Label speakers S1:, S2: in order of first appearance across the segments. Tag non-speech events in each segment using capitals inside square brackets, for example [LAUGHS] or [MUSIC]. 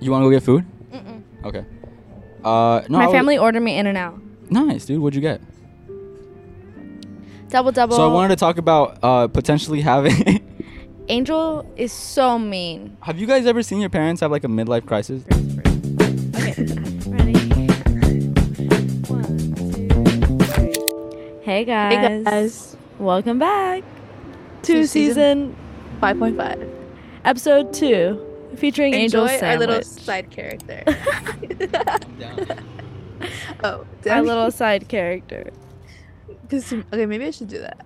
S1: You want to go get food?
S2: Mm-mm.
S1: Okay. Uh, no, I
S2: My
S1: was-
S2: family ordered me in and out.
S1: Nice, dude. What'd you get?
S2: Double double.
S1: so I wanted to talk about uh, potentially having. [LAUGHS]
S2: Angel is so mean.
S1: have you guys ever seen your parents have like a midlife
S2: [LAUGHS]
S1: crisis?
S2: Hey guys.
S3: Hey guys,
S2: Welcome back
S3: To
S2: to
S3: season
S2: season
S3: 5.5.
S2: episode two, featuring Angel
S3: Enjoy our little
S2: Sandwich.
S3: side [LAUGHS] character. oh, did I
S2: Our little side character.
S3: Cause, okay, maybe I should do that.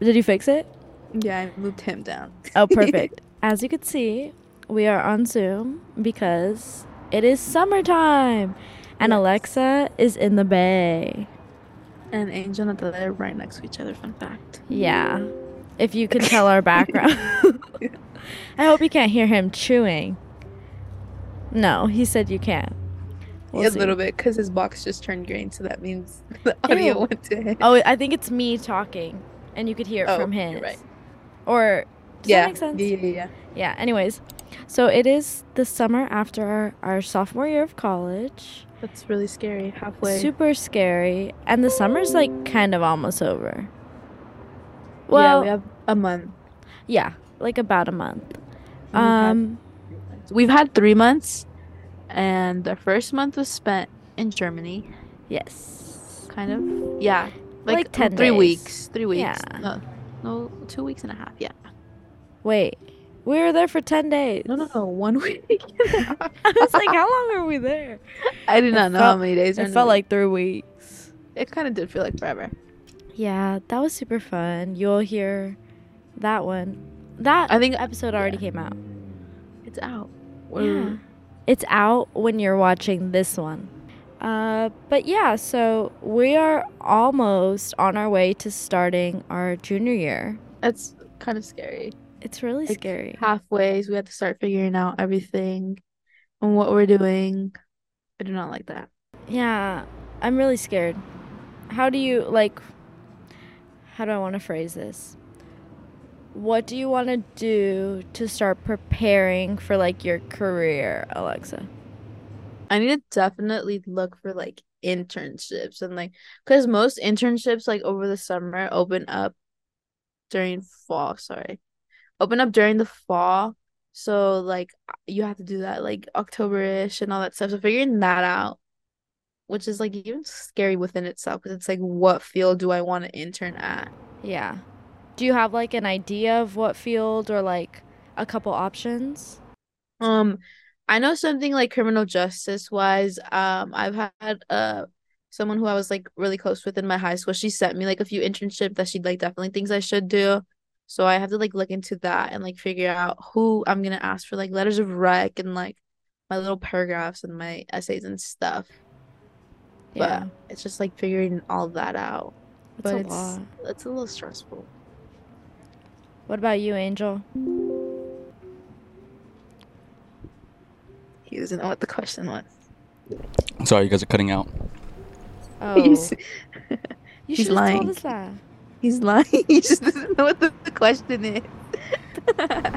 S2: Did you fix it?
S3: Yeah, I moved him down. [LAUGHS]
S2: Oh, perfect. As you can see, we are on Zoom because it is summertime, and
S3: Yes.
S2: Alexa is in the bay.
S3: And Angel and Adela are right next to each other. Fun [LAUGHS] fact.
S2: Yeah. If you can tell our background. I hope you can't hear him chewing. No, he said you can't. We'll
S3: a
S2: see.
S3: little bit, cause his box just turned green, so that means [LAUGHS] the audio
S2: Ew.
S3: went to him.
S2: Oh, I think it's me talking, and you could hear it
S3: Oh,
S2: from
S3: you're
S2: his.
S3: right.
S2: Or does
S3: yeah.
S2: that make sense?
S3: yeah, yeah, yeah.
S2: Yeah, anyways. So it is the summer after our, our sophomore year of college.
S3: That's really scary. Halfway.
S2: Super scary. And the summer's like kind of almost over.
S3: yeah,
S2: Well,
S3: we
S2: yeah,
S3: have a month.
S2: like about a month.
S3: We've had
S2: Um,
S3: We've had three months, and the first month was spent in Germany,
S2: yes.
S3: kind of. Yeah,
S2: Like 10
S3: three
S2: days.
S3: weeks, three weeks.
S2: Yeah.
S3: No, no, two weeks and a half. Yeah,
S2: Wait, we were there for 10 days.
S3: no, no, no, one [LAUGHS] week.
S2: [LAUGHS] I was like, how long were we there?
S3: I did
S2: It
S3: not know how
S2: felt-
S3: many days. were
S2: It
S3: in a
S2: felt
S3: week.
S2: like three weeks.
S3: it kind of did feel like forever.
S2: Yeah, that was super fun. You'll hear that one. That
S3: I think
S2: episode already came out.
S3: it's out.
S2: Yeah. It's out when you're watching this one. Uh, but yeah, so we are almost on our way to starting our junior year.
S3: that's kind of scary.
S2: It's really
S3: Like,
S2: scary.
S3: Halfways, we had to start figuring out everything and what we're doing. I do not like that.
S2: Yeah, I'm really scared. How do you like how do I want to phrase this? What do you want to do to start preparing for like your career, Alexa?
S3: I need to definitely look for like internships and like because most internships like over the summer open up during fall, sorry. Open up during the fall. So like you have to do that like October-ish and all that stuff. So figuring that out, which is like even scary within itself because it's like what field do I want to intern at?
S2: Yeah. Do you have like an idea of what field or like a couple options?
S3: Um, I know something like criminal justice wise. Um, I've had uh someone who I was like really close with in my high school. She sent me like a few internships that she like definitely thinks I should do. So I have to like look into that and like figure out who I'm gonna ask for like letters of rec and like my little paragraphs and my essays and stuff.
S2: Yeah.
S3: But it's just like figuring all that out.
S2: It's
S3: but
S2: a
S3: it's
S2: lot.
S3: it's a little stressful.
S2: What about you,
S3: [LAUGHS]
S2: Angel?
S3: He doesn't know what the question was.
S1: Sorry, you guys are cutting out.
S2: Oh.
S3: He's,
S2: you
S3: he's
S2: should have told
S3: lying.
S2: us that.
S3: he's lying. [LAUGHS] He just doesn't know what the, the question is.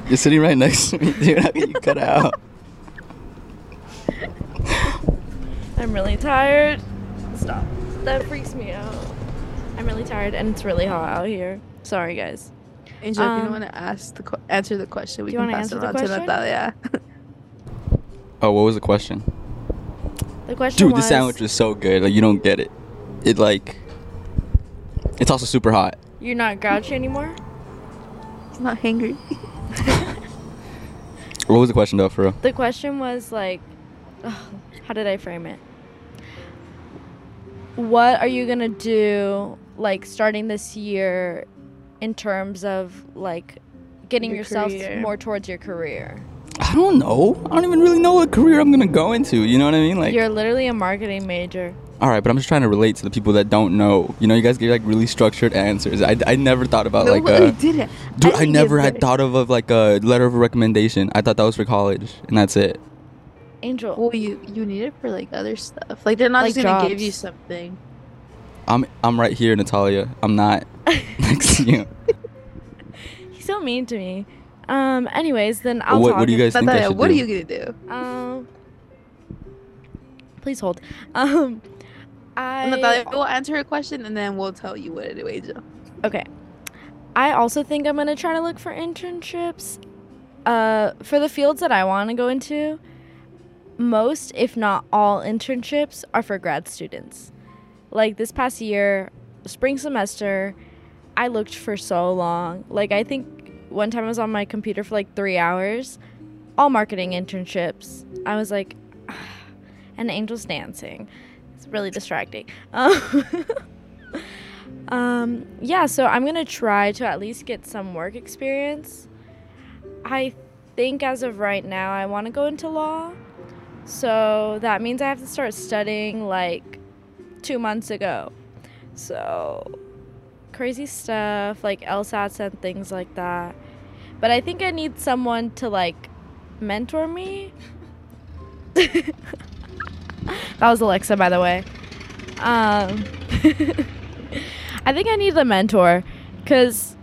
S1: You're sitting right next to me, [LAUGHS] dude. How can you cut out?
S2: [LAUGHS] I'm really tired. Stop. That freaks me out. I'm really tired and it's really hot out here. Sorry, guys.
S3: Angel, if you
S2: Um,
S3: don't want to ask the que- answer the question, we
S2: do you
S3: can
S2: wanna
S3: pass it
S2: answer
S3: on
S2: the
S3: to
S2: question?
S3: Natalia. [LAUGHS]
S1: Oh, what was the question?
S2: The question
S1: Dude,
S2: was
S1: this sandwich is so good. Like you don't get it. It like. It's also super hot.
S2: You're not grouchy anymore?
S3: He's not hangry.
S1: What was the question though, for real?
S2: The question was like, how did I frame it? What are you gonna do, like starting this year, in terms of like getting
S3: Your
S2: yourself
S3: career.
S2: more towards your career?
S1: I don't know. I don't even really know what career I'm gonna go into. You know what I mean? Like,
S2: You're literally a marketing major.
S1: all right, but I'm just trying to relate to the people that don't know. You know, you guys give like really structured answers. I, I never thought about like
S3: [LAUGHS] I
S1: a
S3: didn't.
S1: dude.
S3: I
S1: I,
S3: think
S1: never
S3: it's
S1: had
S3: better.
S1: thought of, of like a letter of recommendation. I thought that was for college, and that's it.
S2: Angel,
S3: Well, you you need it for like other stuff. Like they're not
S2: Like
S3: just gonna give
S2: jobs.
S3: you something.
S1: I'm I'm right here, Natalia. I'm not next to you.
S2: he's so mean to me. Um. Anyways, then I'll
S1: what,
S2: talk.
S1: what do you guys think I
S3: Natalia,
S1: should
S3: what
S1: do?
S3: are you gonna do?
S2: Um. Please hold. [LAUGHS] Um. I.
S3: Natalia will answer her question and then we'll tell you what it is. Angel.
S2: I also think I'm gonna try to look for internships. Uh, for the fields that I want to go into, most, if not all, internships are for grad students. Like this past year, spring semester, I looked for so long. Like I think one time I was on my computer for like three hours. All marketing internships. I was like, and Angel's dancing. It's really distracting. [LAUGHS] Um, Um, yeah, so I'm gonna try to at least get some work experience. I think as of right now, I want to go into law. So that means I have to start studying like two months ago. So crazy stuff like LSATs and things like that. But I think I need someone to like mentor me. [LAUGHS] that was Alexa, by the way. Um, [LAUGHS] I think I need a mentor because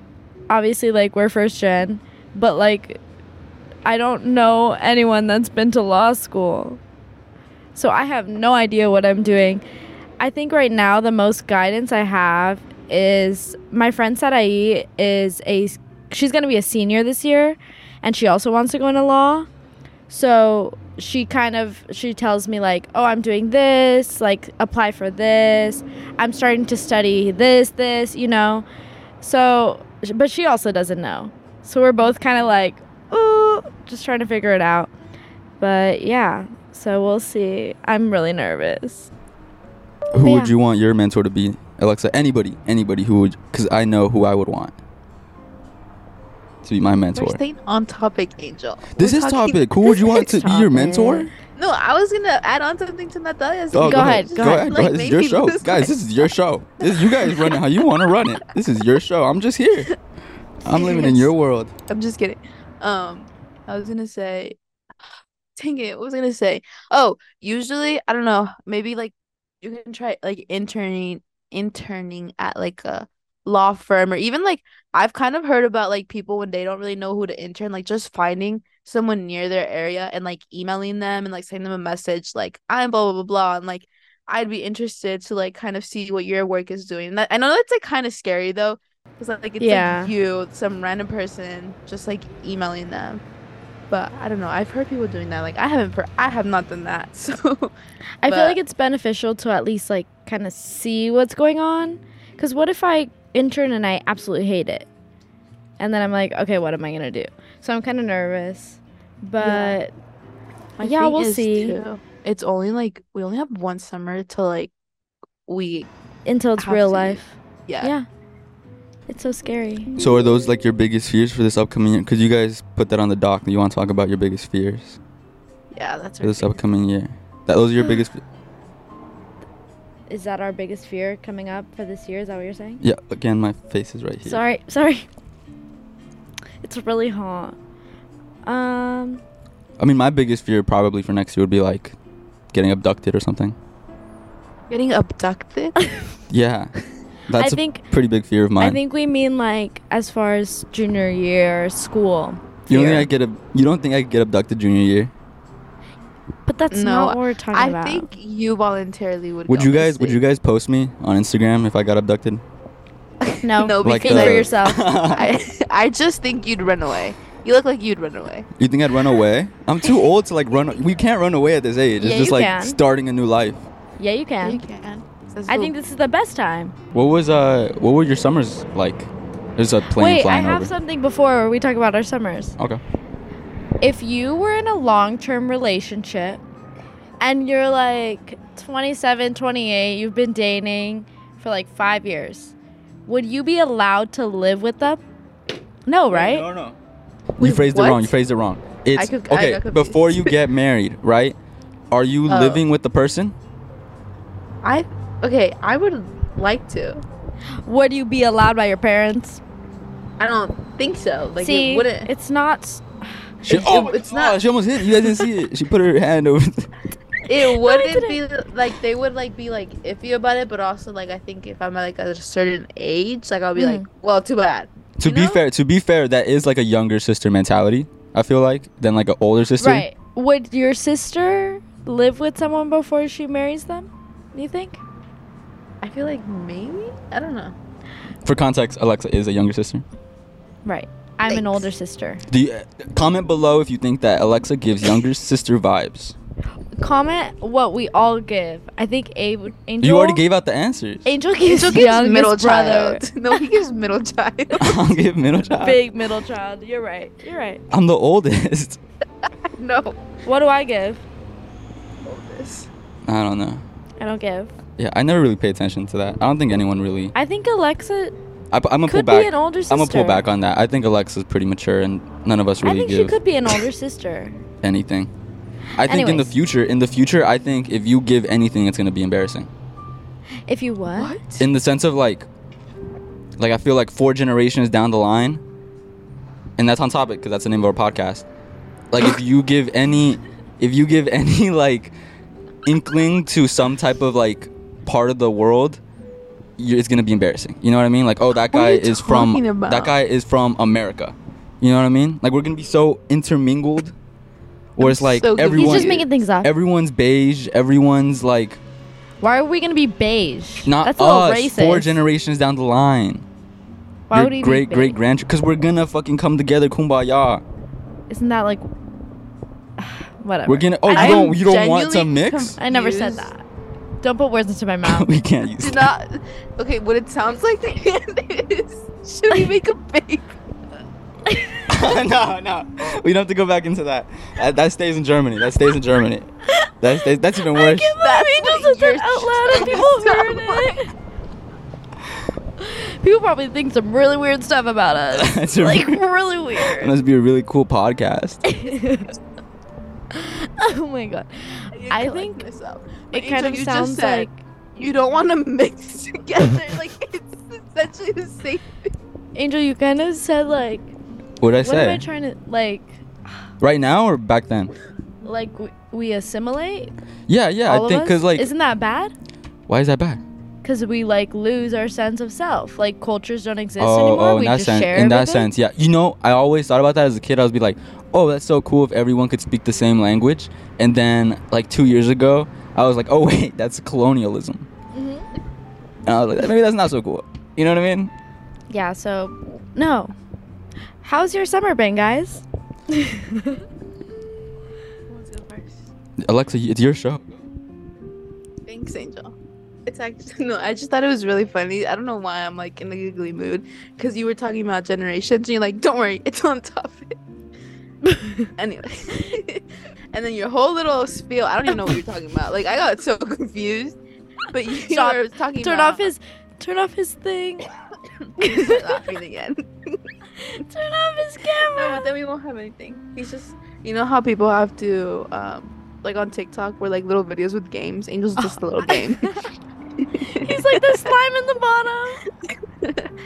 S2: obviously, like, we're first gen, but like, I don't know anyone that's been to law school. So I have no idea what I'm doing. I think right now, the most guidance I have is my friend Sarai is a, she's going to be a senior this year, and she also wants to go into law. So she kind of she tells me like oh i'm doing this like apply for this I'm starting to study this, this, you know. So, but she also doesn't know. So we're both kind of like, ooh, just trying to figure it out. But yeah, so we'll see. I'm really nervous.
S1: Who
S2: Yeah.
S1: would you want your mentor to be, Alexa? Anybody, anybody who would, because I know who I would want to be my mentor.
S3: We're staying on topic, Angel.
S1: This
S3: We're
S1: is
S3: talking-
S1: topic. Who
S2: [LAUGHS]
S1: would you want
S2: This
S1: to
S2: is
S1: be your mentor?
S2: topic.
S3: No, I was gonna add on something to Natalia's.
S1: Oh,
S2: Go ahead,
S1: Go ahead. Go
S3: Like,
S1: ahead. This is
S3: maybe
S1: your show,
S3: lose
S1: guys. This is your show. This, you guys run it how you want to run it. This is your show. I'm just here. I'm living in your world.
S3: I'm just kidding. Um, I was gonna say, [SIGHS] dang it, what was I gonna say? Oh, usually I don't know. Maybe like you can try like interning, interning at like a law firm or even like I've kind of heard about like people when they don't really know who to intern, like just finding someone near their area and like emailing them and like sending them a message like I'm blah blah blah blah and like I'd be interested to like kind of see what your work is doing. And that, I know that's like kind of scary though. Cause like it's
S2: Yeah.
S3: like you, some random person, just like emailing them. But I don't know. I've heard people doing that. Like I haven't. Per- I have not done that. [LAUGHS] So
S2: I feel
S3: But-
S2: like it's beneficial to at least like kind of see what's going on. Because what if I intern and I absolutely hate it? And then I'm like, okay, what am I going to do? So I'm kind of nervous. But
S3: My
S2: Yeah,
S3: thing
S2: we'll
S3: is,
S2: see.
S3: too, it's only like we only have one summer to like we
S2: until it's
S3: Have
S2: real
S3: to.
S2: life.
S3: yeah.
S2: Yeah. It's so scary.
S1: So, are those like your biggest fears for this upcoming year? Because you guys put that on the doc. You want to talk about your biggest fears
S3: Yeah, that's
S1: for this
S3: right.
S1: upcoming year? That those are your biggest.
S2: Is that our biggest fear coming up for this year? Is that what you're saying?
S1: Yeah. Again, my face is right here.
S2: Sorry, [LAUGHS] sorry. It's really hot. Um,
S1: I mean, my biggest fear probably for next year would be like getting abducted or something.
S3: Getting abducted.
S1: Yeah,
S2: [LAUGHS] I
S1: that's a
S2: think
S1: pretty big fear of mine.
S2: I think we mean like as far as junior year school.
S1: you don't think
S2: fear.
S1: I get ab- You don't think I get abducted junior year?
S2: But that's
S3: No,
S2: not what we're talking
S3: I
S2: about.
S3: think you voluntarily would.
S1: Would
S3: go
S1: you
S3: to
S1: guys? Would you
S3: sleep.
S1: guys post me on Instagram if I got abducted?
S2: no,
S3: No,
S1: Like uh,
S2: think
S3: because
S2: for
S1: the- [LAUGHS]
S2: yourself.
S3: I, [LAUGHS] I just think you'd run away. You look like you'd run away.
S1: You think I'd run away? I'm too old to like run. We can't run away at this age. It's
S2: Yeah,
S1: just
S2: you
S1: like
S2: can.
S1: starting a new life.
S2: Yeah, you can.
S3: can.
S2: I think this is the best time.
S1: What was uh? What were your summers like? There's a plane
S2: Wait, I
S1: flying
S2: have
S1: over.
S2: something before we talk about our summers.
S1: okay.
S2: if you were in a long-term relationship and you're like 27 28 you've been dating for like five years would you be allowed to live with them no right
S1: No, no.
S3: Wait,
S1: you phrased it
S3: what?
S1: wrong. You phrased it wrong. It's
S3: could- I
S1: okay.
S3: got confused.
S1: before you get married, right? Are you
S3: Oh.
S1: living with the person?
S3: I okay. I would like to.
S2: would you be allowed by your parents
S3: I don't think so. Like
S2: see
S3: it wouldn't.
S2: it's not
S1: She,
S3: It's-
S1: oh,
S3: it-
S1: my
S3: it's not-
S1: God, She almost hit. it. You guys didn't see it. She put her hand over. the-
S3: it wouldn't
S2: didn't.
S3: be like they would like be like iffy about it, but also like I think if I'm at like a certain age, like I'll be
S2: Mhm.
S3: like, well, too bad.
S1: To
S3: You
S1: be
S3: know?
S1: fair, to be fair, that is like a younger sister mentality. I feel like than like an older sister.
S2: Right. Would your sister live with someone before she marries them? You think?
S3: I feel like maybe I don't know.
S1: For context, Alexa is a younger sister.
S2: Right. I'm an
S3: Thanks.
S2: older sister.
S1: Do you uh, comment below if you think that Alexa gives younger sister vibes?
S2: Comment what we all give. I think Abe, Angel.
S1: You already gave out the answers.
S2: Angel gives,
S3: Angel gives
S2: youngest
S3: middle
S2: brother.
S3: child. [LAUGHS] No, he gives middle child.
S1: [LAUGHS]
S3: [LAUGHS]
S1: I'll give middle [LAUGHS] child.
S2: Big middle child. You're right. You're right.
S1: I'm the oldest. [LAUGHS]
S3: no.
S2: What do I give?
S3: Oldest.
S1: I don't know.
S2: I don't give.
S1: Yeah, I never really pay attention to that. I don't think anyone really.
S2: I think Alexa
S1: I, am gonna pull
S2: could
S1: back.
S2: be an older sister.
S1: I'm gonna pull back on that. I think Alexa's pretty mature, and none of us
S2: I
S1: really
S2: think she
S1: give
S2: could be an older sister.
S1: anything. I think in the
S2: Anyways.
S1: future, in the future, I think if you give anything, it's gonna be embarrassing.
S2: If you what?
S1: In the sense of like, like I feel like four generations down the line, and that's on topic because that's the name of our podcast. Like if
S2: [LAUGHS]
S1: you give any, if you give any [LAUGHS] like inkling to some type of like part of the world, you it's gonna be embarrassing. You know what I mean? Like oh that
S3: What are
S1: guy
S3: you
S1: is from
S3: talking about?
S1: that guy is from America. You know what I mean? Like we're gonna be so intermingled, where it's
S3: I'm
S1: like
S3: so confused.
S1: everyone.
S2: He's
S3: Everyone-
S2: just making things up.
S1: Everyone's beige. Everyone's like
S2: Why are we gonna be beige?
S1: not
S2: That's a little
S1: us.
S2: racist.
S1: Four generations down the line.
S2: Why
S1: Your
S2: would he
S1: great
S2: be
S1: great
S2: beige?
S1: grand because we're gonna fucking come together, kumbaya.
S2: Isn't that like [SIGHS] whatever?
S1: We're gonna. Oh, you
S2: I am
S1: don't you don't want to
S3: genuinely
S1: mix?
S2: I never said
S3: confused.
S2: that. Don't put
S1: [LAUGHS]
S2: words into my mouth.
S1: we can't use.
S3: Do
S1: that.
S3: not. Okay, what it sounds like [LAUGHS] is should we make a fake?
S1: no, no, we don't have to go back into that. that. That stays in Germany. That stays in Germany. That stays, that's
S2: [LAUGHS]
S1: even worse.
S2: [LAUGHS] I can't
S3: That's
S2: believe Angel said
S3: what
S2: that
S3: you're
S2: out loud and
S3: trying to
S2: people heard it.
S1: [LAUGHS]
S2: People probably think some really weird stuff about us.
S1: That's
S2: like
S1: right.
S2: really
S1: That
S2: weird.
S1: must be a really cool podcast.
S2: [LAUGHS] oh my god. I
S3: collect
S2: think
S3: myself. But
S2: It
S3: Angel,
S2: kind of
S3: you just
S2: sounds
S3: said
S2: like
S3: you don't want to
S2: [LAUGHS]
S3: mix [LAUGHS] together. like it's essentially the same.
S2: Angel, you kind of said like
S1: What I
S2: what am
S1: say?
S2: I trying to like
S1: right now or back then?
S2: like we, we assimilate
S1: Yeah, yeah.
S2: all
S1: I
S2: of
S1: think
S2: us?
S1: because like,
S2: isn't that bad?
S1: why is that bad?
S2: Because we like lose our sense of self. Like cultures don't exist
S1: Oh,
S2: anymore.
S1: oh, in
S2: we
S1: that
S2: just
S1: sense,
S2: share
S1: in that
S2: everything.
S1: sense, yeah. You know, I always thought about that as a kid. I was be like, oh, that's so cool if everyone could speak the same language. And then like two years ago, I was like, oh [LAUGHS] wait, that's colonialism.
S3: Mm-hmm.
S2: Mhm.
S1: And I was like, maybe that's not so cool. You know what I mean?
S2: Yeah. So no. How's your summer been, guys?
S1: Alexa, it's your show.
S3: Thanks, Angel. It's actually [LAUGHS] no. I just thought it was really funny. I don't know why I'm like in a giggly mood because you were talking about generations and you're like, "Don't worry, it's on [LAUGHS] topic." anyway, [LAUGHS] and then your whole little spiel. I don't even know what you're talking about. Like I got so [LAUGHS] confused. But you uh,
S2: Stop.
S3: were talking.
S2: turn
S3: about,
S2: off his turn off his thing [LAUGHS]
S3: [LAUGHS] Start laughing again.
S2: turn off his
S3: No,
S2: [LAUGHS]
S3: but
S2: camera
S3: then we won't have anything. He's just, you know how people have to, um, like on TikTok, where like little videos with games. Angel's just a little [LAUGHS] game.
S2: he's like the slime in the bottom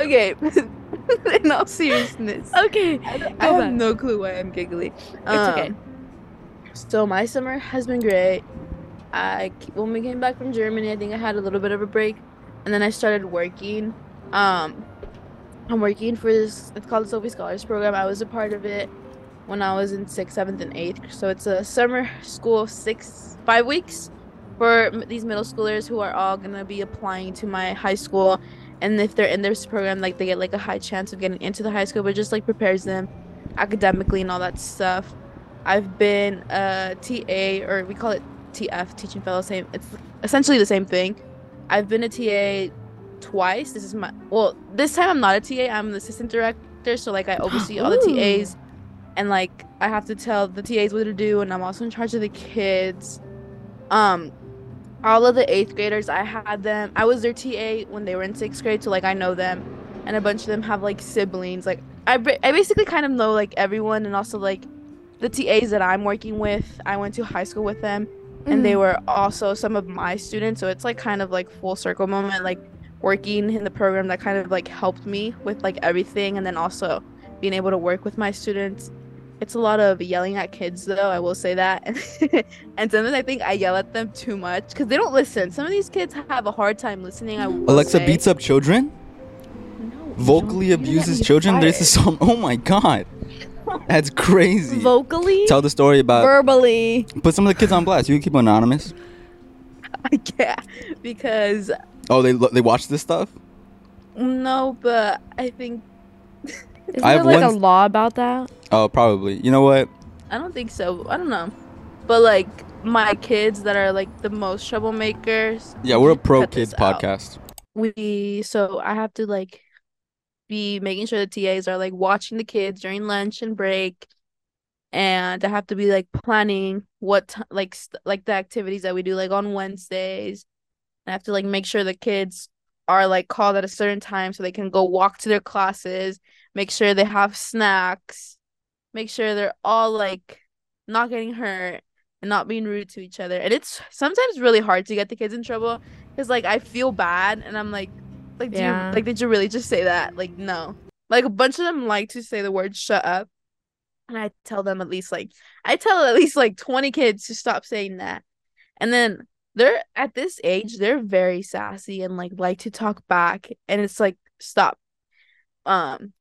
S3: okay. [LAUGHS] In all seriousness,
S2: okay
S3: I, don't- I
S2: go
S3: have
S2: back.
S3: no clue why I'm giggly. It's
S2: okay.
S3: So my summer has been great. I c- when we came back from Germany, I think I had a little bit of a break, and then I started working. Um, I'm working for this. It's called the Sophie Scholars Program. I was a part of it when I was in sixth, seventh, and eighth. So it's a summer school of six, five weeks for m- these middle schoolers who are all gonna be applying to my high school. And if they're in this program, like they get like a high chance of getting into the high school, but it just like prepares them academically and all that stuff. I've been a TA, or we call it TF, teaching fellow. Same, it's essentially the same thing. I've been a TA twice. This is my well. This time I'm not a TA. I'm an assistant director, so like I oversee all the
S2: Ooh.
S3: TAs, and like I have to tell the TAs what to do, and I'm also in charge of the kids. Um, all of the eighth graders, I had them. I was their TA when they were in sixth grade, so like I know them, and a bunch of them have like siblings. Like I, ba- I basically kind of know like everyone, and also like the TAs that I'm working with. I went to high school with them and they were also some of my students so it's like kind of like full circle moment like working in the program that kind of like helped me with like everything and then also being able to work with my students It's a lot of yelling at kids, though. I will say that. [LAUGHS] and sometimes I think I yell at them too much because they don't listen. Some of these kids have a hard time listening. I will
S1: Alexa
S3: say. [LAUGHS]
S1: beats up children,
S3: No,
S1: vocally
S3: don't. You don't
S1: abuses
S3: get me
S1: children. There's a
S3: fired.
S1: song. Oh my god, that's crazy.
S2: Vocally,
S1: Tell the story about.
S2: verbally.
S1: Put some of the kids on blast. You can keep them anonymous.
S3: I can't because
S1: Oh, they lo- they watch this stuff.
S3: no, but I think
S2: Isn't
S1: I
S2: there
S1: have
S2: like a
S1: one-
S2: law about that?
S1: Oh, probably. You know what?
S3: I don't think so. I don't know, but like my kids that are like the most troublemakers.
S1: Yeah, we're a pro
S3: Cut this
S1: kids
S3: out.
S1: podcast.
S3: we so I have to like be making sure the TAs are like watching the kids during lunch and break, and I have to be like planning what t- like st- like the activities that we do like on Wednesdays. I have to like make sure the kids are like called at a certain time so they can go walk to their classes, make sure they have snacks, make sure they're all like not getting hurt and not being rude to each other. And it's sometimes really hard to get the kids in trouble because like I feel bad and I'm like, like do
S2: Yeah.
S3: you, like did you really just say that? Like no, like a bunch of them like to say the word shut up, and I tell them at least like I tell at least like twenty kids to stop saying that, and then they're at this age they're very sassy and like like to talk back and it's like stop um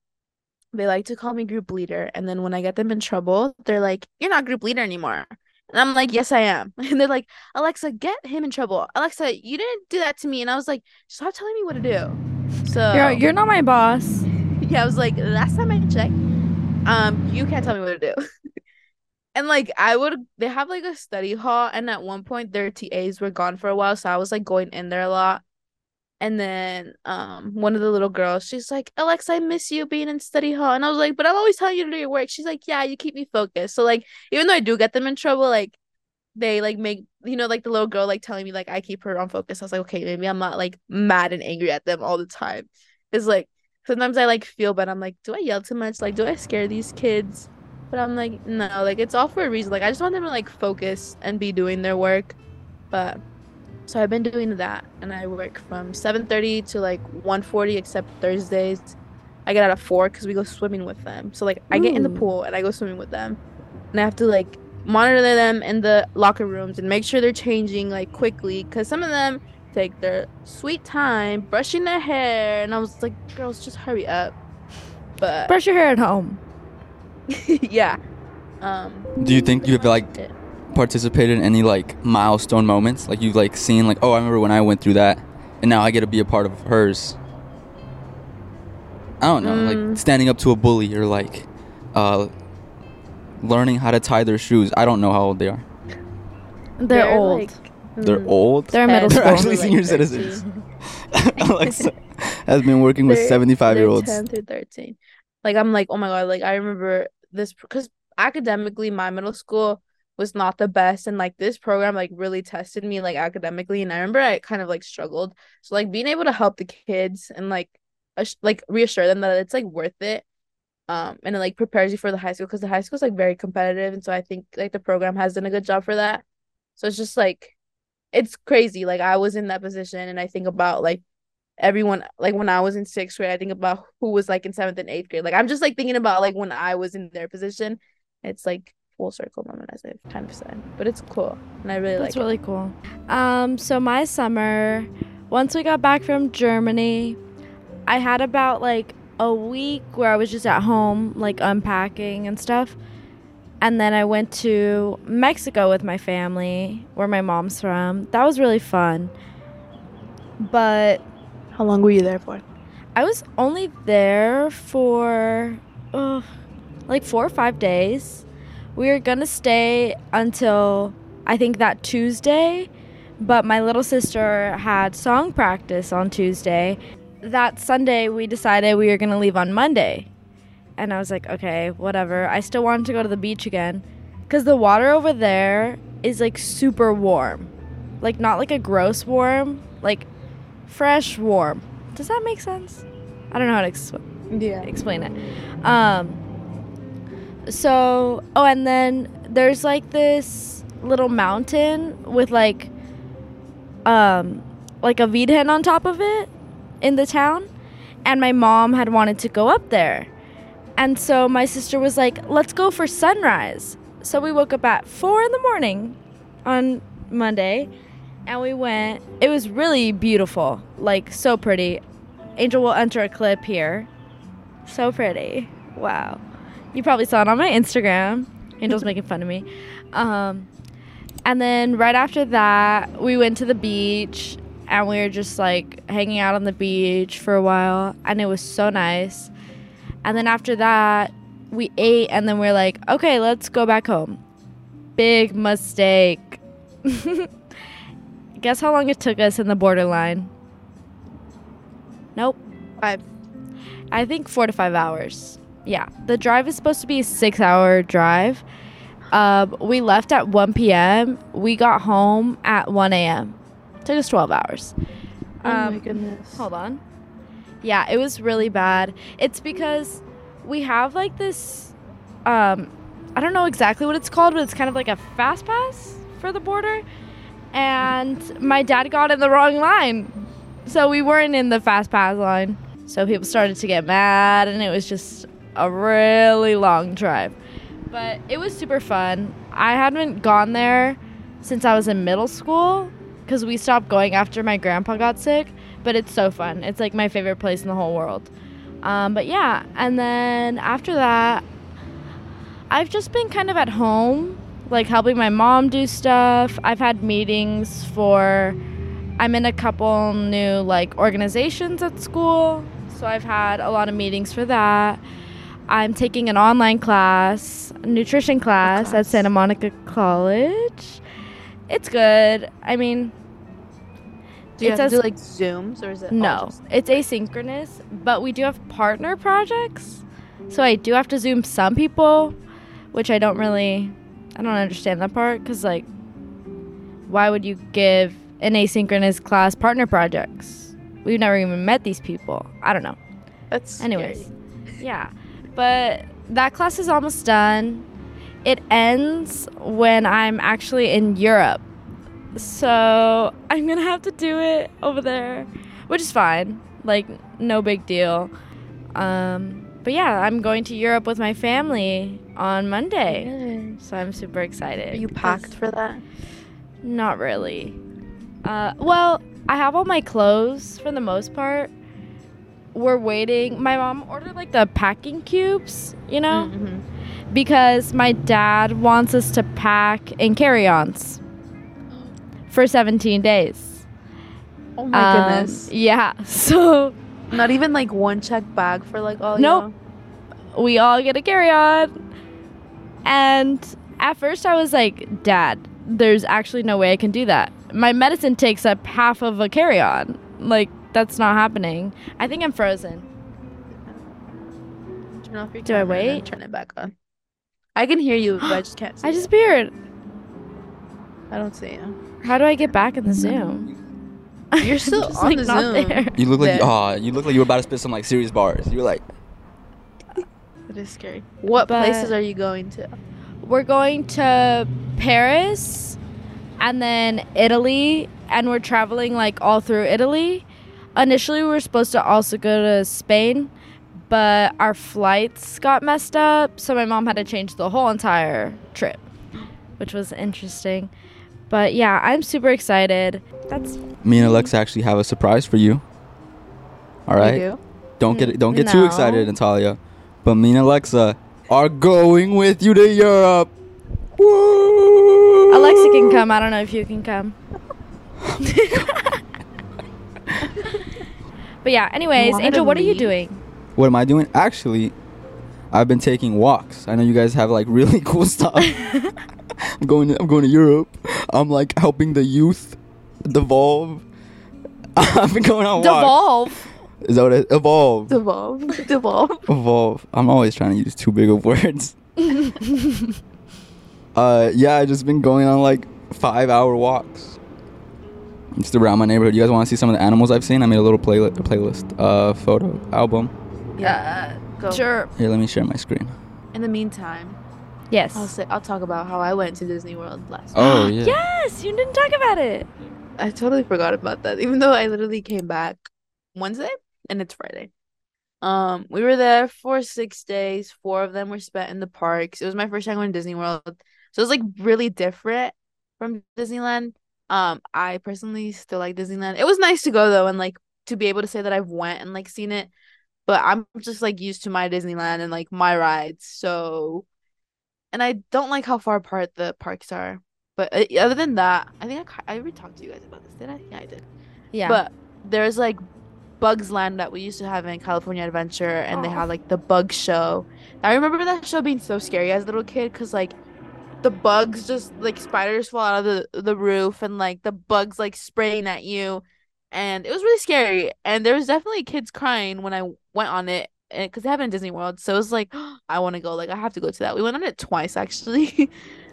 S3: they like to call me group leader and then when i get them in trouble they're like you're not group leader anymore and i'm like yes i am [LAUGHS] and they're like alexa get him in trouble alexa you didn't do that to me and i was like stop telling me what to do so
S2: You're, you're not my boss.
S3: [LAUGHS] yeah, I was like, last time I checked, um, you can't tell me what to do. [LAUGHS] and like I would they have like a study hall and at one point their TAs were gone for a while, so I was like going in there a lot. And then um one of the little girls, she's like, Alexa, I miss you being in study hall. And I was like, But I'm always telling you to do your work. She's like, Yeah, you keep me focused. So like even though I do get them in trouble, like they like make you know like the little girl like telling me like I keep her on focus. I was like, okay, maybe I'm not like mad and angry at them all the time. It's like sometimes I like feel bad. I'm like, do I yell too much? Like, do I scare these kids? But I'm like, no, like it's all for a reason. Like I just want them to like focus and be doing their work. But so I've been doing that and I work from 7:30 to like 1:40 except Thursdays. I get out at 4 cuz we go swimming with them. So like I get in the
S2: Ooh.
S3: pool and I go swimming with them. And I have to like monitor them in the locker rooms and make sure they're changing like quickly cuz some of them take their sweet time brushing their hair and I was like, "Girls, just hurry up." But
S2: Brush your hair at home.
S3: [LAUGHS] yeah. Um
S1: Do you think you've like
S3: it.
S1: participated in any like milestone moments? Like you've like seen like, oh, I remember when I went through that, and now I get to be a part of hers. I don't know, like
S3: Mm.
S1: standing up to a bully or like, uh, learning how to tie their shoes. I don't know how old they are.
S2: They're, old.
S3: like,
S1: They're
S3: mm,
S1: old.
S2: They're in middle
S1: They're
S2: school.
S1: actually senior citizens. [LAUGHS]
S3: [LAUGHS]
S1: Alexa has been working with
S3: They're-
S1: 75 year olds.
S3: 10 through 13 like i'm like oh my god like i remember this because academically my middle school was not the best and like this program like really tested me like academically and i remember i kind of like struggled so like being able to help the kids and like ass- like reassure them that it's like worth it um and it like prepares you for the high school because the high school is like very competitive and so i think like the program has done a good job for that so it's just like it's crazy like i was in that position and i think about like everyone like when I was in sixth grade, I think about who was like in seventh and eighth grade. Like I'm just like thinking about like when I was in their position. It's like full circle moment as I've kind of said. But it's cool. And I really
S2: That's
S3: like
S2: really cool. Um, so my summer, once we got back from Germany, I had about like a week where I was just at home, like unpacking and stuff. And then I went to Mexico with my family, where my mom's from. That was really fun. But
S3: it. How long were you there for?
S2: I was only there for uh, like four or five days. We were gonna stay until I think that Tuesday, but my little sister had song practice on Tuesday. That Sunday, we decided we were gonna leave on Monday. And I was like, okay, whatever. I still wanted to go to the beach again. Because the water over there is like super warm. Like, not like a gross warm, like fresh warm. Does that make sense? I don't know how to explain
S3: Yeah.
S2: explain it. Um, so, oh, and then there's like this little mountain with like, um, like a weed hen on top of it in the town, and my mom had wanted to go up there, And so my sister was like, let's go for sunrise. So we woke up at four in the morning on Monday and we went. It was really beautiful, like so pretty. Angel will enter a clip here. So pretty. Wow. You probably saw it on my Instagram. Angel's making fun of me. Um, and then right after that, we went to the beach and we were just like hanging out on the beach for a while and it was so nice. And then after that, we ate and then we are like, okay, let's go back home. Big mistake. [LAUGHS] Guess how long it took us in the borderline? Nope.
S3: Five.
S2: I think four to five hours. Yeah. The drive is supposed to be a six hour drive. Um, we left at 1 p.m. We got home at 1 a.m. Took us 12 hours.
S3: Oh my
S2: Um,
S3: goodness.
S2: Hold on. Yeah, it was really bad. It's because we have like this um I don't know exactly what it's called, but it's kind of like a fast pass for the border. And my dad got in the wrong line. So we weren't in the fast pass line. So people started to get mad and it was just a really long drive. But it was super fun. I hadn't gone there since I was in middle school because we stopped going after my grandpa got sick but it's so fun. It's like my favorite place in the whole world. Um, but yeah, and then after that, I've just been kind of at home, like helping my mom do stuff. I've had meetings for, I'm in a couple new like organizations at school, so I've had a lot of meetings for that. I'm taking an online class, nutrition class at
S3: class?
S2: Santa Monica College. It's good. I mean,
S3: Do you
S2: it
S3: have to
S2: says-
S3: do like zooms or is it all
S2: no,
S3: just-
S2: it's asynchronous, but we do have partner projects. So I do have to Zoom some people, which I don't really, I don't understand that part because, like, why would you give an asynchronous class partner projects? We've never even met these people. I don't know.
S3: That's
S2: Anyways,
S3: scary.
S2: yeah. But that class is almost done. It ends when I'm actually in Europe. So I'm going to have to do it over there, which is fine. Like, no big deal. Um, but yeah, I'm going to Europe with my family on Monday.
S3: Yes.
S2: So I'm super excited.
S3: Are you
S2: because-
S3: packed for that?
S2: not really. Uh, well, I have all my clothes for the most part. We're waiting. My mom ordered like the packing cubes, you know,
S3: Mhm.
S2: because my dad wants us to pack in carry ons for 17 days.
S3: Oh my
S2: Um,
S3: goodness.
S2: Yeah. [LAUGHS] So
S3: Um, Not even like one check bag for like all
S2: Nope. we all get a carry on. And at first I was like, Dad, there's actually no way I can do that. My medicine takes up half of a carry on. Like, that's not happening. I think I'm frozen.
S3: y'all. Turn off your
S2: Do I
S3: camera and then
S2: wait?
S3: Turn it back on. I can hear you,
S2: [GASPS]
S3: but I just can't see.
S2: I
S3: you.
S2: disappeared.
S3: I don't
S2: [LAUGHS]
S3: see you.
S2: How do I get back in the Zoom?
S3: You're still
S2: [LAUGHS] Just,
S3: on the
S2: not
S3: Zoom.
S2: there.
S1: You look like
S3: There.
S1: ah, you look like you were about to spit some like serious bars. You were like,
S3: It is scary. What
S2: But-
S3: places are you going to?
S2: We're going to Paris and then Italy, and we're traveling like all through Italy. Initially, we were supposed to also go to Spain, but our flights got messed up, so my mom had to change the whole entire trip, which was interesting. But yeah, I'm super excited. That's
S1: me
S3: Mm-hmm.
S1: and Alexa actually have a surprise for you. All right,
S3: You do?
S1: don't get don't get too
S2: No.
S1: excited, Natalia. But me and Alexa are going with you to Europe. Woo!
S2: Alexa can come. I don't know if you can come. [LAUGHS] but yeah, anyways,
S3: wanted
S2: Angel,
S3: to
S2: what are you
S3: leave?
S2: doing?
S1: What am I doing? Actually, I've been taking walks. I know you guys have like [LAUGHS] really cool stuff. I'm going. To, I'm going to Europe. I'm like helping the youth devolve. [LAUGHS] I've been going on walks.
S2: Devolve.
S1: Is that what it evolve?
S2: [LAUGHS]
S3: Devolve. Devolve.
S1: evolve. I'm always trying to use too big of [LAUGHS] words. uh, yeah, I just been going on like five hour walks. Just around my neighborhood. You guys want to see some of the animals I've seen? I made a little playlist, playlist, uh, photo album.
S2: Yeah.
S3: Go.
S2: Sure.
S1: Here, let me share my screen.
S3: In the meantime,
S2: Yes.
S3: I'll say I'll talk about how I went to Disney World last.
S1: Oh [GASPS] yeah.
S2: Yes, you didn't talk about it.
S3: I totally forgot about that, even though I literally came back Wednesday and it's Friday. Um, we were there for six days. Four of them were spent in the parks. It was my first time going to Disney World, so it was like really different from Disneyland. Um, I personally still like Disneyland. It was nice to go though, and like to be able to say that I've went and like seen it. But I'm just like used to my Disneyland and like my rides. So, and I don't like how far apart the parks are. But uh, other than that, I think I ki- I already talked to you guys about this, did I? Yeah, I did.
S2: Yeah.
S3: But there's like Bugs Land that we used to have in California Adventure, and they
S2: Aw.
S3: had like the bug show. I remember that show being so scary as a little kid because like the bugs just like spiders fall out of the, the roof and like the bugs like spraying at you. And it was really scary. And there was definitely kids crying when I went on it because it happened in Disney World. So it was like, [GASPS] I want to go. Like, I have to go to that. We went on it twice actually, [LAUGHS]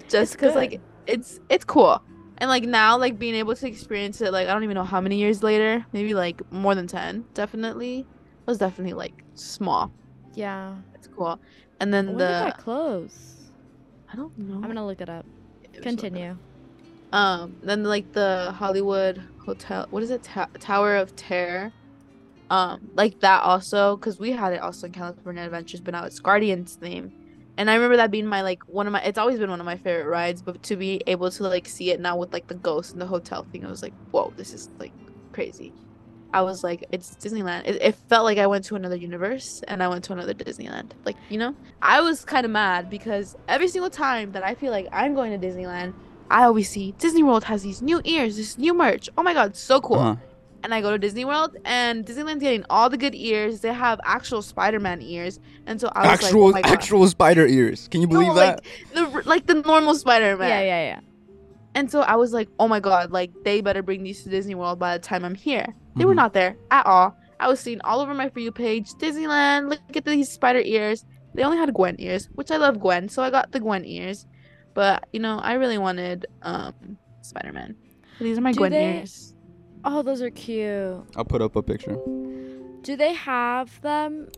S3: just
S2: It's
S3: because like
S2: good.
S3: it's it's cool and like now like being able to experience it like i don't even know how many years later maybe like more than 10 definitely it was definitely like small
S2: yeah.
S3: it's cool and then
S2: When
S3: the
S2: did that close?
S3: i don't know
S2: I'm gonna look it up.
S3: It was
S2: Continue.
S3: like- um then like the hollywood hotel what is it Ta- tower of terror um like that also because we had it also in california adventures but now it's guardians theme and i remember that being my like one of my it's always been one of my favorite rides but to be able to like see it now with like the ghost and the hotel thing i was like whoa this is like crazy i was like it's disneyland it, it felt like i went to another universe and i went to another disneyland like you know i was kind of mad because every single time that i feel like i'm going to disneyland i always see disney world has these new ears this new merch oh my god so cool
S1: Uh-huh.
S3: and I go to Disney World, and Disneyland's getting all the good ears. They have actual Spider-Man ears, and so I was
S1: Actual
S3: like, oh my God.
S1: actual spider ears. Can you
S3: No,
S1: believe that?
S3: like the like the normal Spider-Man.
S2: Yeah, yeah,
S3: And so I was like, oh my God, like they better bring these to Disney World by the time I'm here. They were
S1: Mhm.
S3: not there at all. I was seeing all over my for you page, Disneyland. Look at these spider ears. They only had Gwen ears, which I love Gwen, so I got the Gwen ears. But you know, I really wanted um Spider-Man. These are my
S2: Do
S3: Gwen
S2: they-
S3: ears.
S2: yeah. Oh, those are cute.
S1: I'll put up a picture.
S2: Do they have them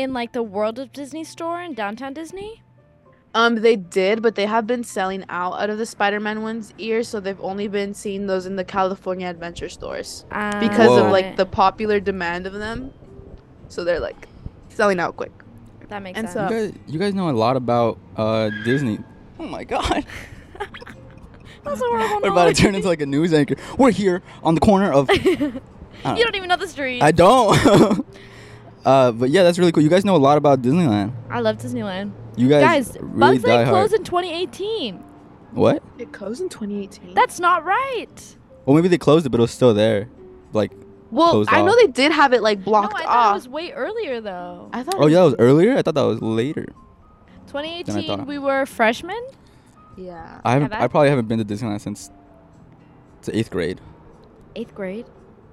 S2: in like the World of Disney store in downtown Disney?
S3: Um, they did, but they have been selling out out of the Spider-Man one's ears, so they've only been seeing those in the California Adventure stores
S2: Um,
S3: because
S1: Whoa.
S3: of like the popular demand of them. So they're like selling out quick.
S2: that makes
S3: and
S1: You
S2: sense.
S3: so-
S1: guys, you guys know a lot about uh, Disney. Oh my
S3: [LAUGHS]
S1: god.
S2: That's
S1: [LAUGHS]
S2: a horrible
S1: We're about to turn
S2: [LAUGHS]
S1: into like a news anchor. We're here on the corner
S3: [LAUGHS]
S1: of
S2: noise.
S1: Uh,
S2: you don't even know the street.
S1: I don't. [LAUGHS] uh, but yeah, that's really cool. You guys know a lot about Disneyland.
S2: I love Disneyland.
S1: You guys,
S2: Guys,
S1: really
S2: Bugs
S1: die
S2: Land
S1: hard.
S2: closed in 2018.
S1: What?
S3: It goes in 2018.
S2: That's not right.
S1: Well, maybe they closed it, but it was still there. Like,
S3: well,
S1: closed
S3: I know
S1: off.
S3: they did have it like
S2: No,
S3: blocked
S2: I thought it
S3: off.
S2: was way earlier though.
S3: I thought.
S1: oh yeah, that was earlier. I thought that was later. Then I
S2: 2018,
S1: thought-
S2: we were freshmen.
S3: Yeah.
S1: I haven't.
S2: that-
S1: I probably haven't been to Disneyland since the eighth grade.
S2: Eighth grade.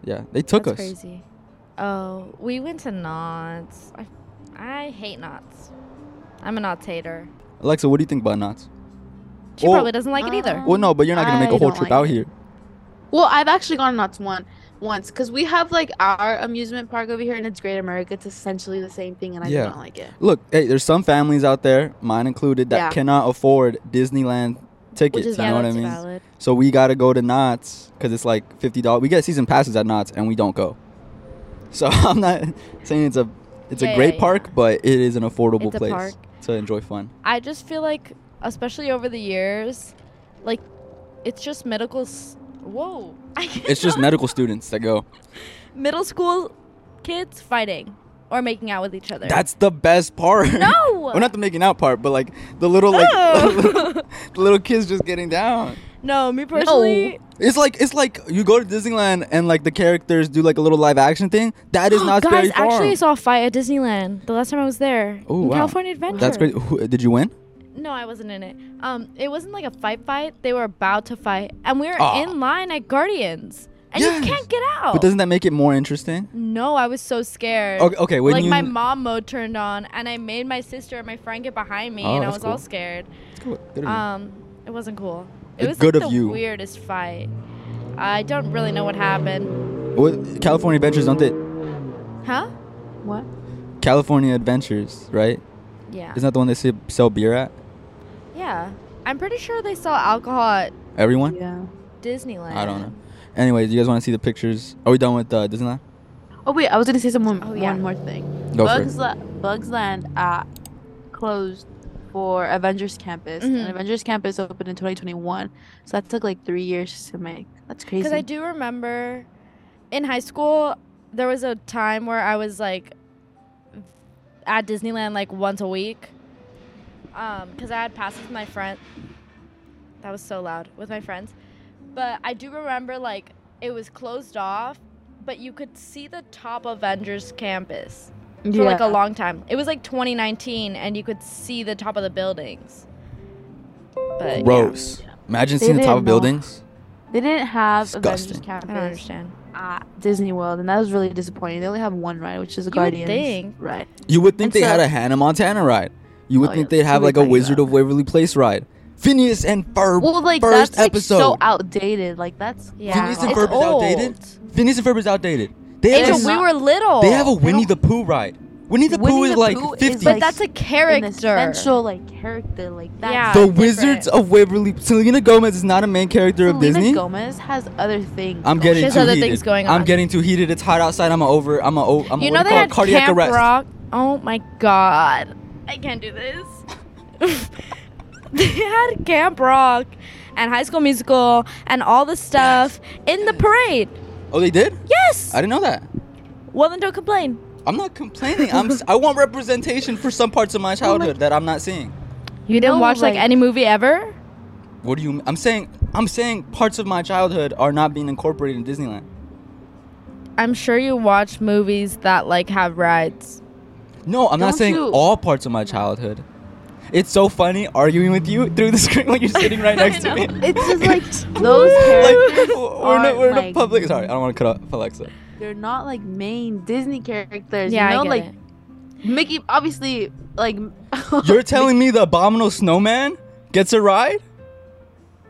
S1: Yeah, they took
S2: That's
S1: us.
S2: crazy. Oh, we went to knots. I, I hate knots. I'm a knots hater.
S1: Alexa, what do you think about knots?
S2: She
S1: Oh.
S2: probably doesn't like it either.
S3: Uh,
S1: Well, no, but you're not gonna make
S3: I
S1: a whole
S3: don't
S1: trip
S3: like
S1: out
S3: it.
S1: here.
S3: Well, I've actually gone not to one once because we have like our amusement park over here, and it's Great America. It's essentially the same thing, and I
S1: Yeah.
S3: do not like it.
S1: Look, hey, there's some families out there, mine included, that
S3: Yeah. cannot
S1: cannot afford Disneyland tickets.
S3: is
S1: you know what I
S2: that's
S1: mean?
S2: valid.
S1: So we gotta go to Knott's because it's like fifty dollars. We get season passes at Knott's and we don't go. [LAUGHS] So I'm not saying it's a it's
S2: Yeah,
S1: a great
S2: yeah,
S1: park, but it is an affordable
S2: It's a
S1: place
S2: park.
S1: to enjoy fun.
S2: [LAUGHS] I just feel like, especially over the years, like it's just medical. S- Whoa! [LAUGHS] I
S1: It's just
S2: cannot-
S1: medical students that go.
S2: middle school kids fighting or making out with each other.
S1: That's the best part.
S2: no.
S1: [LAUGHS] Well, not the making out part, but like [LAUGHS] the little like
S2: Oh. [LAUGHS]
S1: the little kids just getting down.
S2: no, me personally.
S1: It's like it's like you go to Disneyland and like the characters do like a little live action thing. That
S2: [GASPS]
S1: is not
S2: Guys,
S1: very
S2: actually, I saw a fight at Disneyland the last time I was there.
S1: Oh,
S2: in
S1: wow.
S2: California Adventure.
S1: That's great. Who, did you win?
S2: No, I wasn't in it. Um, it wasn't like a fight fight. They were about to fight, and we were
S1: Aw.
S2: in line at Guardians, and
S1: Ah. Yes.
S2: you can't get out.
S1: But doesn't that make it more interesting?
S2: no, I was so scared.
S1: Okay, okay when
S2: like
S1: you
S2: my mom mode turned on, and I made my sister and my friend get behind me,
S1: Oh,
S2: and I
S1: that's
S2: was all
S1: cool.
S2: scared.
S1: Good of you.
S2: Um, it wasn't cool. It
S1: The
S2: was
S1: good
S2: like
S1: of
S2: the
S1: you.
S2: weirdest fight. I don't really know what happened.
S1: What California Adventures, don't they?
S2: Huh?
S3: What?
S1: California Adventures, right?
S2: Yeah.
S1: Isn't that the one they se- sell beer at?
S2: Yeah. I'm pretty sure they sell alcohol at
S1: Everyone?
S3: Yeah.
S2: Disneyland.
S1: I don't know. Anyways, you guys want to see the pictures? Are we done with uh, Disneyland?
S3: Oh wait, I was gonna say some one,
S2: Oh, yeah.
S3: one more thing.
S1: Go for it.
S3: Bugs, La- Bugs Land uh, closed for Avengers Campus,
S2: Mhm.
S3: and Avengers Campus opened in 2021. So that took like three years to make. That's crazy.
S2: Because I do remember in high school, there was a time where I was like at Disneyland like once a week. Because I had passes with my friend. That was so loud with my friends. But I do remember like it was closed off, but you could see the top Avengers campus for like a long time. It was like 2019, and you could see the top of the buildings. But yeah,
S1: Gross. Imagine
S3: uh, They
S1: seeing the top
S3: didn't
S1: of
S3: know.
S1: buildings.
S3: They didn't have
S1: Disgusting.
S3: Avengers Campus.
S2: I don't understand.
S3: at Disney World, and that was really disappointing. They only have one ride, which is a
S2: You would
S3: Guardians
S2: think.
S3: ride.
S1: You would think
S3: And
S1: they had
S3: so-
S1: a Hannah Montana ride. You would
S3: Oh,
S1: think
S3: yeah,
S1: they'd have
S3: we'll
S1: like
S3: be
S1: a
S3: talking
S1: Wizard
S3: about
S1: of Waverly Place ride. Phineas and Ferb.
S3: Well, like
S1: first
S3: that's like,
S1: episode.
S3: so outdated. Like that's
S2: Yeah,
S1: Phineas
S2: it's
S1: and Ferb is
S2: old.
S1: outdated. Phineas and Ferb is outdated. They have,
S3: It's
S1: a,
S2: Angel,
S1: s-
S2: we
S3: not-
S2: were little.
S1: they have a Winnie
S3: don't-
S1: the Pooh ride. Winnie the Pooh
S3: Winnie
S1: is
S3: the
S1: like
S3: Pooh is,
S1: 50.
S2: but
S3: like,
S2: that's a
S3: an
S2: character.
S3: essential like character. Like that.
S2: Yeah.
S1: the
S2: different.
S1: Wizards of Waverly. Selena Gomez is not a main character of
S3: Selena
S1: Disney.
S3: Gomez has other things.
S1: I'm
S3: going
S1: getting
S2: She
S3: on.
S2: has
S1: too
S2: Oh, other
S1: heated.
S2: things going
S1: I'm
S2: on.
S1: getting too heated. It's hot outside. I'm a over. I'm a. o- I'm a.
S2: you
S1: what
S2: know
S1: do you
S2: they
S1: call it?
S2: had
S1: cardiac
S2: Camp
S1: arrest.
S2: Rock. Oh my god, I can't do this. [LAUGHS] they had Camp Rock and High School Musical and all the stuff in the parade.
S1: Oh, they did.
S2: Yes.
S1: I didn't know that.
S2: well, then don't complain.
S1: I'm not complaining. I'm.
S2: [LAUGHS]
S1: s- I want representation for some parts
S2: Oh
S1: of my childhood that I'm not seeing.
S2: You didn't
S3: No,
S2: watch like,
S3: like-
S2: any movie ever.
S1: What do you? m- I'm saying. I'm saying parts of my childhood are not being incorporated in Disneyland.
S2: I'm sure you watch movies that like have rides.
S1: No, I'm not
S3: Don't
S1: saying
S3: you-
S1: all parts of my childhood. It's so funny arguing with you through the [LAUGHS] screen when you're sitting right
S2: [LAUGHS] I
S1: next to me.
S2: know. [LAUGHS]
S3: It's
S1: [LAUGHS]
S3: just like those
S1: like
S3: characters.
S1: we're, in a,
S3: aren't,
S1: we're in a
S3: like-
S1: public. Sorry, I don't want to cut off
S2: [LAUGHS]
S1: Alexa.
S3: they're not like main Disney characters.
S2: yeah,
S3: you know,
S2: I get
S3: like
S2: it.
S3: Mickey. Obviously, like [LAUGHS]
S1: You're telling me the abominable snowman gets a ride?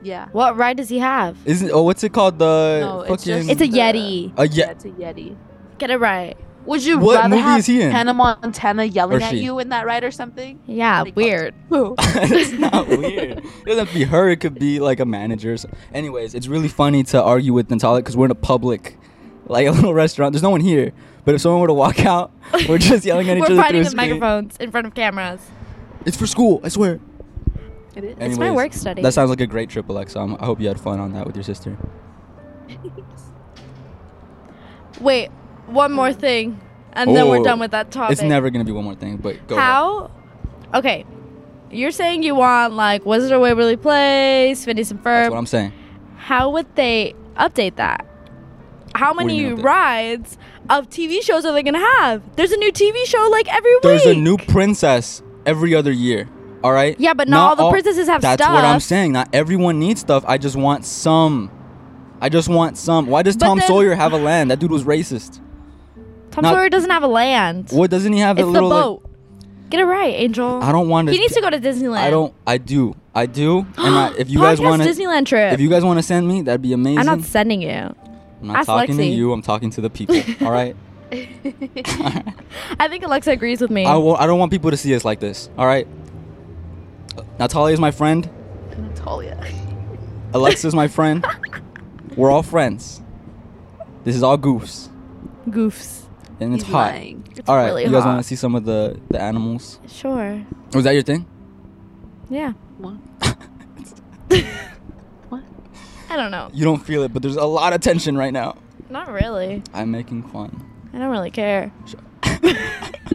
S3: yeah.
S2: What ride does he have?
S1: Isn't oh what's it called? The
S3: No, it's
S1: fucking
S3: just
S1: [LAUGHS]
S2: It's a
S3: the-
S2: Yeti.
S1: a ye-
S3: yeah, it's a Yeti.
S2: Get it right.
S3: Would you
S1: What
S3: rather
S1: movie
S3: have
S1: is he in?
S3: Hannah Montana yelling
S1: Or
S3: at
S1: she.
S3: you in that ride or something?
S1: [LAUGHS]
S2: Yeah,
S3: Like,
S2: weird.
S1: it's not weird. It doesn't have to be her. It could be like a manager. or so- Anyways, it's really funny to argue with Natalia because we're in a public, like [LAUGHS] a little restaurant. There's no one here. But if someone were to walk out, [LAUGHS] we're just yelling at each
S2: We're
S1: other through
S2: fighting
S1: the
S2: with
S1: screen.
S2: microphones in front of cameras.
S1: It's for school. I swear.
S3: It is.
S2: It's my
S1: Anyways,
S2: work study.
S1: That sounds like a great trip, Alexa. i I hope you had fun on that with your sister.
S2: Wait, one more thing, and then
S1: Oh,
S2: we're done with that topic.
S1: It's never gonna be one more thing, but go. ahead.
S2: how. Okay, you're saying you want like Wizard of Waverly Place, Phineas and
S1: That's what
S2: Ferb.
S1: I'm saying.
S2: How would they update that? How
S1: What do you
S2: many
S1: mean update?
S2: rides of TV shows are they gonna have? There's a new TV show like every
S1: There's
S2: week.
S1: a new princess every other year. All right.
S2: Yeah, but not, all the princesses have
S1: That's
S2: stuff.
S1: what I'm saying. Not everyone needs stuff. I just want some. I just want some. Why does
S2: But
S1: Tom
S2: then-
S1: Sawyer have a land? That dude was racist.
S2: Tom
S1: not-
S2: Sawyer doesn't have a land.
S1: What doesn't he have
S2: it's
S1: a little?
S2: the
S1: like-
S2: boat. Get it right, Angel.
S1: I don't want to.
S2: he needs to go to Disneyland.
S1: I don't. I do. I do. And
S2: [GASPS]
S1: I, if you guys
S2: Podcast
S1: want to,
S2: Disneyland trip.
S1: if you guys want to send me, that'd be amazing.
S2: I'm not sending you.
S1: I'm not
S2: ask
S1: talking to
S2: Lexi.
S1: you. I'm talking to the people. All
S2: [LAUGHS]
S1: right.
S2: I think Alexa agrees with me.
S1: I w- I don't want people to see us like this. All right. Natalia is my friend.
S3: [LAUGHS] Natalia.
S1: Alexa's my friend. We're all friends. This is all goofs,
S2: Goofs.
S1: and it's
S3: He's
S1: hot.
S3: lying.
S2: It's
S1: all right,
S2: really
S1: you guys
S2: hot.
S1: want to see some of the the animals?
S2: Sure.
S1: Was that your thing?
S2: Yeah.
S3: What?
S2: I don't know.
S1: You don't feel it, but there's a lot of tension right now.
S2: Not really.
S1: I'm making fun.
S2: I don't really care.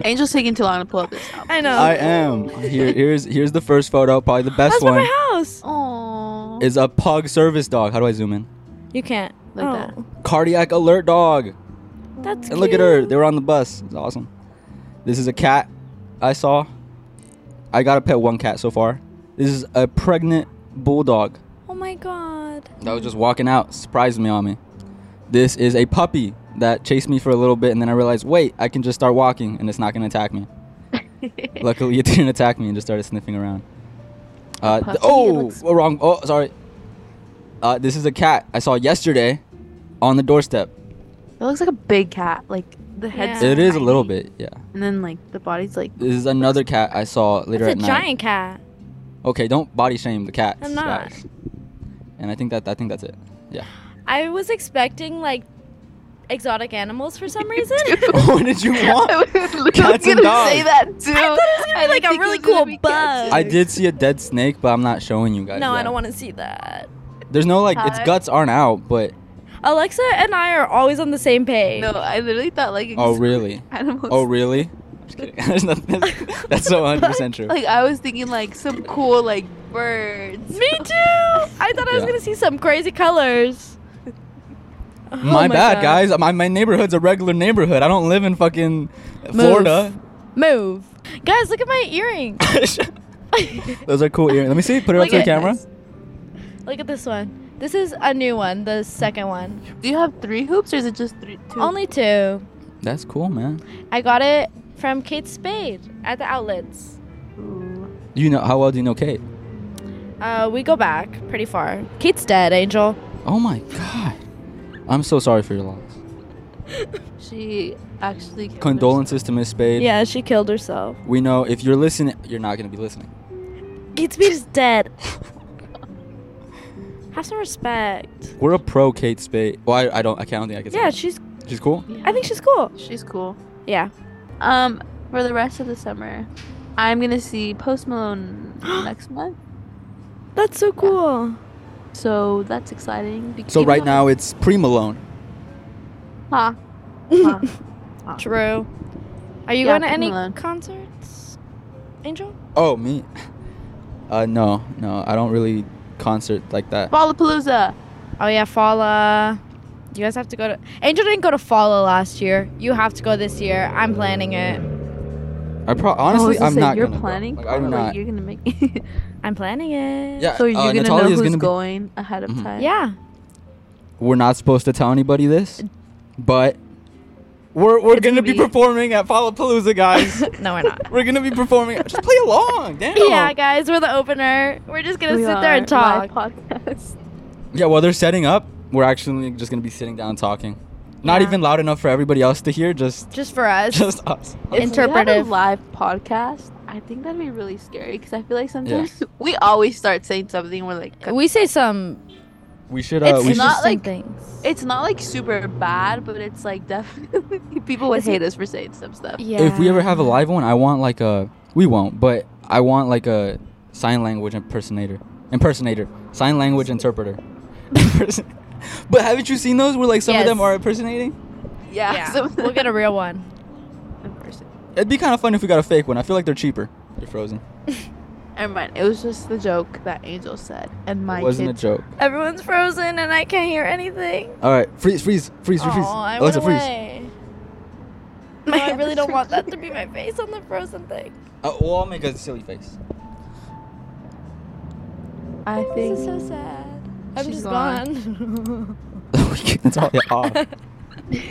S3: Angel's taking too long to pull up this album.
S2: [LAUGHS] I know.
S1: I am. Here, here's here's the first photo, probably the best
S2: That's from
S1: one.
S2: my house.
S3: Aww.
S1: Is a pug service dog. How do I zoom in?
S2: You can't.
S3: Like that.
S2: oh,
S1: Cardiac alert dog.
S2: That's
S1: And look at her. They were on the bus. It's awesome. This is a cat I saw. I got to pet one cat so far. This is a pregnant bulldog
S2: Oh my god.
S1: that was just walking out. Surprised me on me. This is a puppy that chased me for a little bit, and then I realized, wait, I can just start walking, and it's not gonna attack
S2: [LAUGHS]
S1: me. Luckily, it didn't attack me and just started sniffing around. Uh, th-
S3: Puppy, it
S1: oh,
S3: looks-
S1: oh, wrong. Oh, sorry. Uh, this is a cat I saw yesterday on the doorstep.
S3: It looks like a big cat. Like the head's
S2: Yeah.
S1: It is a little
S3: tiny,
S1: bit, yeah.
S3: and then like the body's like
S1: This is another cat I saw later
S2: That's a
S1: at night.
S2: giant cat.
S1: Okay, don't body shame the cats.
S2: I'm not. [LAUGHS]
S1: guys. And I think that I think that's it.
S2: I was expecting like exotic animals
S1: [LAUGHS]
S2: for some reason.
S1: [LAUGHS] what did you want?
S3: [LAUGHS] I was literally
S1: Cats and
S3: gonna say
S1: dogs.
S3: that too.
S2: I thought it was gonna be like a
S3: think
S2: really
S3: it's gonna
S2: cool
S3: be
S2: bug.
S3: cats.
S1: I did see a dead snake, but I'm not showing you guys.
S2: no, I
S1: that.
S2: don't want to see that.
S1: There's no like its
S3: Hi.
S1: guts aren't out, but
S2: Alexa and I are always on the same page.
S3: No, I literally thought like
S1: oh
S3: exotic
S1: really?
S3: animals.
S1: Oh really? I'm just kidding. [LAUGHS] There's
S2: [LAUGHS]
S1: nothing. That's so 100 percent true.
S3: Like I was thinking like some cool like birds.
S1: [LAUGHS]
S2: Me too. I thought I was
S1: Yeah.
S2: gonna see some crazy colors. Oh
S1: my, bad,
S2: God.
S1: guys. My my neighborhood's a regular neighborhood. I don't live in fucking Florida. [LAUGHS]
S2: Move, guys. Look at my earring. [LAUGHS]
S1: Those are cool earrings. Let me see. Put it up
S2: Look
S1: to the
S2: at
S1: camera.
S2: look at this one. This is a new one. The second one.
S3: Do you have three hoops or is it just three? Two?
S2: Only two.
S1: That's cool, man.
S2: I got it from Kate Spade at the outlets.
S3: Ooh.
S1: You know how well do you know Kate?
S2: Uh, we go back pretty far. Kate's dead, Angel.
S1: Oh my god. I'm so sorry for your loss.
S3: She actually killed
S1: Condolences to Miss Spade.
S2: Yeah, she killed herself.
S1: We know if you're listening, you're not gonna be listening.
S2: Kate Spade is dead. Have some respect.
S1: We're a pro Kate Spade. Well, I, I don't. I can't. I don't think I can. say
S2: Yeah,
S1: that.
S2: she's.
S1: she's cool.
S3: herself. Yeah.
S2: I think she's cool.
S3: she's cool.
S2: Yeah.
S3: Um, for the rest of the summer, I'm gonna see Post
S1: [GASPS]
S3: Malone next month.
S2: That's so cool.
S3: So that's exciting. Be-
S1: So
S3: even
S1: right
S3: though-
S1: now it's pre Malone.
S3: Ha.
S1: [LAUGHS]
S3: Ha.
S2: [LAUGHS] True. Are you
S3: Yeah,
S2: going to
S3: Post
S2: any
S3: Malone.
S2: concerts, Angel?
S1: Oh me. Uh no no I don't really concert like that.
S3: Lollapalooza.
S2: Oh yeah, Fala. You guys have to go to. Angel didn't go to Fala last year. You have to go this year. I'm planning it.
S1: I pro-
S3: I
S1: honestly
S3: was gonna
S1: I'm
S3: say,
S1: not.
S3: You're
S1: gonna go.
S3: planning.
S1: Like, I'm
S3: Like,
S1: not.
S3: You're gonna make. [LAUGHS] it.
S2: I'm planning it.
S1: Yeah.
S3: so you're
S1: uh,
S3: gonna Hmm.
S1: Natalia's
S3: know who's
S1: gonna be-
S3: going ahead of
S1: Mhm.
S3: time.
S2: Yeah. [LAUGHS]
S1: We're not supposed to tell anybody this, but we're we're
S3: It's
S1: gonna
S3: gonna
S1: be
S3: be-
S1: performing at Palapalooza,
S2: [LAUGHS]
S1: guys.
S2: No, we're
S1: [LAUGHS]
S2: not.
S1: we're gonna be performing. Just play along. Damn.
S2: Yeah, guys, we're the opener. We're just gonna
S3: We
S2: sit there and
S3: are live
S2: talk.
S3: [LAUGHS] podcast.
S1: Yeah, while they're setting up, we're actually just gonna be sitting down talking. Not
S2: Yeah.
S1: even loud enough for everybody else to hear, just [LAUGHS]
S2: Just for us.
S1: just us.
S3: If we had
S2: Interpretive.
S3: a live podcast. I think that'd be really scary because I feel like sometimes [LAUGHS] we always start saying something. and We're like,
S2: we say some
S1: We should uh we
S2: it's
S1: should
S3: not
S2: not like
S3: like-
S2: things.
S3: it's not like super bad, but it's like [LAUGHS] definitely people would
S2: It's-
S3: hate us for saying some stuff.
S2: yeah.
S1: if we ever have a live one, I want like a we won't, but I want like a sign language impersonator. Impersonator. Sign language interpreter. [LAUGHS] but haven't you seen those where like some of them
S2: Yes.
S1: are impersonating?
S3: Yeah,
S2: yeah.
S3: so-
S2: we'll get a real one.
S3: in person.
S1: It'd be kind of fun if we got a fake one. I feel like they're cheaper. They're frozen.
S3: Never mind. It was just the joke that Angel said, and my
S1: it wasn't
S3: kids.
S1: a joke.
S2: Everyone's frozen and I can't hear anything.
S1: All right, freeze, freeze, freeze, freeze,
S2: Oh,
S1: freeze.
S2: I
S1: Alexa,
S2: went
S1: freeze.
S2: away. No, I really don't want that to be my face on the frozen thing.
S1: Uh, well, I'll make a silly face. [LAUGHS]
S3: I
S2: This is
S3: think
S2: so sad. I'm
S3: She's
S2: just
S3: gone.
S2: gone.
S1: That's all. Yeah, [LAUGHS] aw. Thank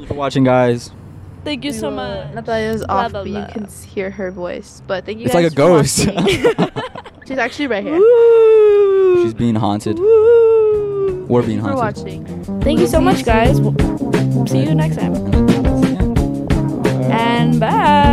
S1: you for watching, guys.
S2: Thank you so much. [LAUGHS]
S3: Natalia's
S2: Blah,
S3: off,
S2: blah,
S3: but
S2: blah.
S3: you can s- hear her voice. But thank you.
S1: It's
S3: guys
S1: like a
S3: for
S1: ghost. [LAUGHS]
S3: watching. She's actually right here.
S2: Woo!
S1: She's being haunted.
S2: Woo!
S1: We're being
S3: Thank you for
S1: haunted.
S3: watching.
S2: Thank you so much, guys. We'll see you next time.
S1: And I think that's the end.
S2: And bye.